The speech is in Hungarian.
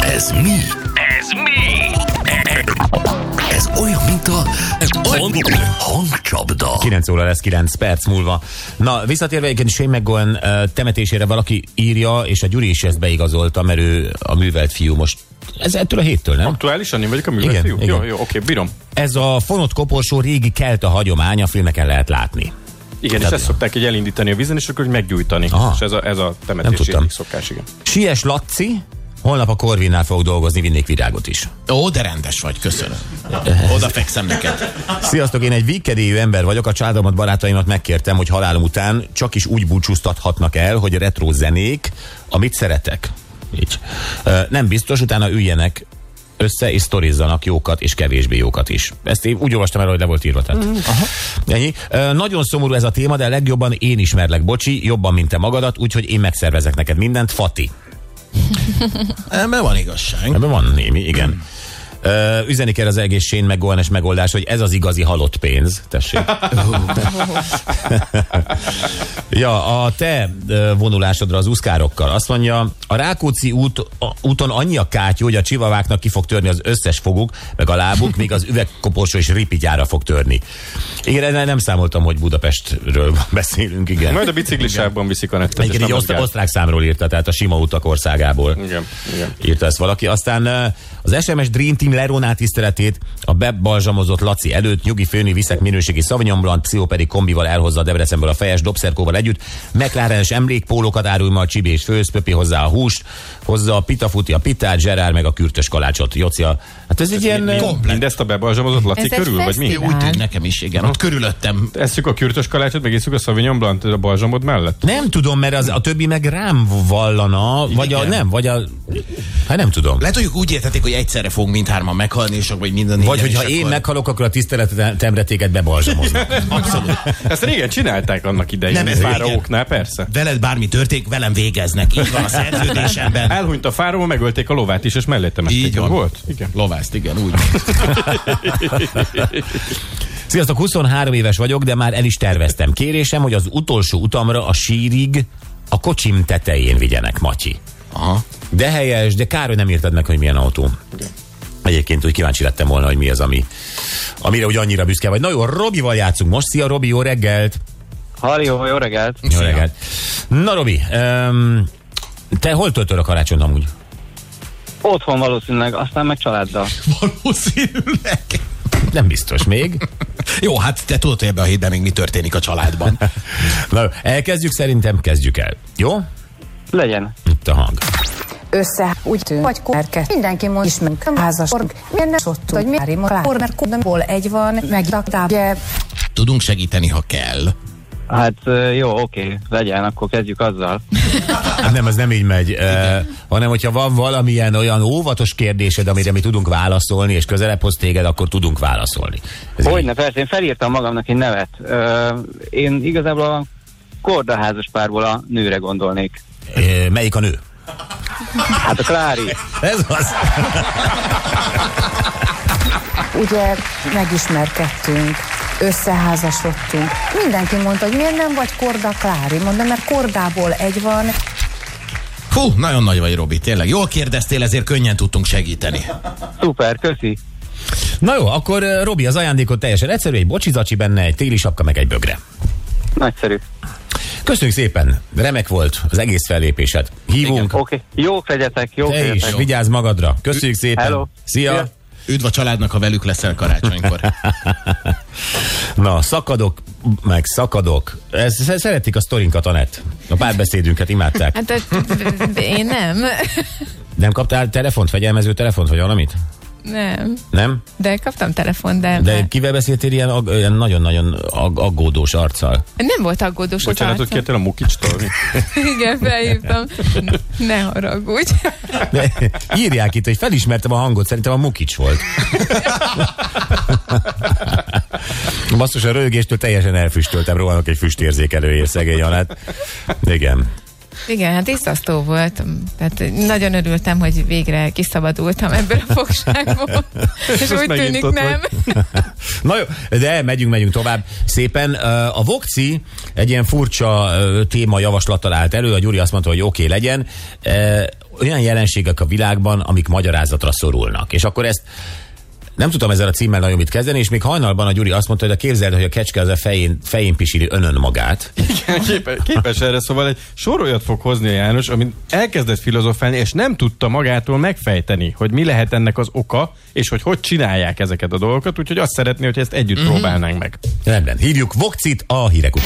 Ez mi? Ez mi? Ez olyan, mint a hang, hangcsapda. 9 óra lesz 9 perc múlva. Na, visszatérve egyébként Shane McGowan ö, temetésére valaki írja, és a Gyuri is ezt beigazolta, mert ő a művelt fiú most. Ez ettől a héttől, nem? Aktuálisan én vagyok a művelt Igen, fiú? igen. Jó, jó, oké, bírom. Ez a fonott koporsó régi kelta hagyomány, a filmeken lehet látni. Igen, és Tehát- ezt szokták így elindítani a vízen, és akkor így meggyújtani. Aha. És ez a, ez a Nem temetés tudtam. egyik szokás, igen. Sies Laci, holnap a Korvinnál fogok dolgozni, vinnék virágot is. Ó, de rendes vagy, köszönöm. Odafekszem neked. Sziasztok, én egy vígkedélyű ember vagyok, a családomat, barátaimat megkértem, hogy halálom után csak is úgy búcsúztathatnak el, hogy retro zenék, amit szeretek. Így. Ö, Nem biztos, utána üljenek össze és sztorizzanak jókat és kevésbé jókat is. Ezt én úgy olvastam el, hogy le volt írva. Tehát. Ennyi. Ö, Nagyon szomorú ez a téma, de legjobban én ismerlek, bocsi, jobban, mint te magadat, úgyhogy én megszervezek neked mindent, Fati. Ebben van igazság. Ebben van némi, igen. Ö, Üzeni kell az egész Shane McGowan-es megoldás, hogy ez az igazi halott pénz. Tessék. ja, a te ö, vonulásodra az úszkárokkal. Azt mondja, a Rákóczi út, a, úton annyi a kátyú, hogy a csivaváknak ki fog törni az összes foguk, meg a lábuk, míg az üvegkoporsó és ripityára fog törni. Igen, ezzel nem számoltam, hogy Budapestről beszélünk, igen. Majd a biciklisában viszik a nettet. és Igen, nem így az oszt- gáz. osztrák számról írta, tehát a sima utak országából Igen, igen. írta ezt valaki. Aztán ö, az SMS Dream Team Leroná tiszteletét a bebalzsamozott Laci előtt nyugi főni viszek minőségi Sauvignon Blanc, pszichopedi kombival elhozza a Debrecenből a fejes dobszerkóval együtt, McLaren-es emlékpólókat árul ma a csibi és főz, Pöpi hozzá a húst, hozzá a pitafuti, a pitát, Gerard meg a kürtös kalácsot, Jocia. Hát ez egy ilyen... ö, Mindezt a bebalzsamozott Laci Ez egy körül, vagy mi? fesztivál. Úgy tűnt nekem is, igen. Ott körülöttem. Esszük a kürtös kalácsot, meg iszuk a Sauvignon Blanc a balzsamod mellett. Nem tudom, mert az, a többi meg rám vallana, vagy a, Igen. nem, vagy a... Hát nem tudom. Lehet, hogy úgy értették, hogy egyszerre fogunk mindhárman meghalni, és akkor minden Vagy hogyha én meghalok, akkor a tiszteletemre téged bebalzsamoznak. Abszolút. Ezt régen csinálták annak idején. Nem, Nem ez ez régen. fáraóknál, persze. Veled bármi történik, velem végeznek. Így van a szerződésemben. Elhunyt a fáraó, megölték a lovát is, és mellé temették. Így van. Volt? Igen. Lovászt, igen, úgy. Sziasztok, 23 éves vagyok, de már el is terveztem. Kérésem, hogy az utolsó utamra a sírig a kocsim tetején vigyenek, Matyi. Aha. De helyes, de kár, hogy nem írtad meg, hogy milyen autó. Egyébként úgy kíváncsi lettem volna, hogy mi az, ami, amire úgy annyira büszke vagy. Na jó, Robival játszunk most. Szia, Robi, jó reggelt! Harió, jó reggelt! Jó reggelt! Na, Robi, um, te hol töltöd a karácsonyt amúgy? Otthon valószínűleg, aztán meg családdal. Valószínűleg. Nem biztos még. Jó, hát te tudod, hogy ebben a hétben még mi történik a családban. Na, jó, elkezdjük, szerintem kezdjük el. Jó? Legyen. Itt a hang. össze, úgy tűn, vagy kórke. Mindenki mond, ismerünk a házas org, miért nem sottu, hogy mi árim alá, mert kódomból egy van, meg taktábje. Tudunk segíteni, ha kell. Hát ö, jó, oké, legyen, akkor kezdjük azzal. Hát nem, ez nem így megy, uh, hanem hogyha van valamilyen olyan óvatos kérdésed, amire mi tudunk válaszolni, és közelebb hoz téged, akkor tudunk válaszolni. Ez így. Hogyne, persze, én felírtam magamnak egy nevet. Ö, én igazából a kordaházas párból a nőre gondolnék. Ö, melyik a nő? Hát a Klári. Ez az. Ugye megismerkedtünk, összeházasodtunk. Mindenki mondta, hogy miért nem vagy Korda Klári, mondom, mert Kordából egy van. Hú, nagyon nagy vagy, Robi, tényleg. Jól kérdeztél, ezért könnyen tudtunk segíteni. Szuper, köszi. Na jó, akkor ö, Robi, az ajándékot teljesen egyszerű, egy bocsizacsi benne, egy téli sapka, meg egy bögre. Nagyszerű. Köszönjük szépen, remek volt az egész fellépésed. Hívunk, Oké, jók legyetek, jók te is, legyetek. vigyázz magadra. Köszönjük szépen. Hello. Szia. Szia. Üdv a családnak, ha velük leszel karácsonykor. Na, szakadok, meg szakadok. Ez, szeretik a sztorinkat, Anett. A párbeszédünket imádták. Hát ö, b- b- én nem. Nem kaptál telefont, fegyelmező telefont, vagy valamit? Nem. Nem? De kaptam telefon, de, De már- kivel beszéltél ilyen ag- ilyen nagyon-nagyon ag- aggódós arccal? nem volt aggódós az Bocsánatot arcom. kértél a mukicstól? Igen, felhívtam. Ne haragudj. De írják itt, hogy felismertem a hangot, szerintem a Mukics volt. Basszus, a rögéstől teljesen elfüstöltem, rohanok egy füstérzékelőért, szegény Anett. Igen. Igen, hát iszasztó volt. Tehát nagyon örültem, hogy végre kiszabadultam ebből a fogságból. És most úgy megint tűnik ott nem. Na jó, de megyünk, megyünk tovább szépen. Ö, A Vokci egy ilyen furcsa ö, téma javaslattal állt elő, a Gyuri azt mondta, hogy oké okay, legyen. Ö, Olyan jelenségek a világban, amik magyarázatra szorulnak. És akkor ezt nem tudtam ezzel a címmel nagyon mit kezdeni, és még hajnalban a Gyuri azt mondta, hogy a képzeld, hogy a kecske az a fején, fején pisíli önön magát. Igen, képe, képes erre, szóval egy sor olyat fog hozni a János, amit elkezdett filozofálni, és nem tudta magától megfejteni, hogy mi lehet ennek az oka, és hogy hogy csinálják ezeket a dolgokat, úgyhogy azt szeretné, hogy ezt együtt próbálnánk meg. Rendben, hívjuk Vokcit a hírek után.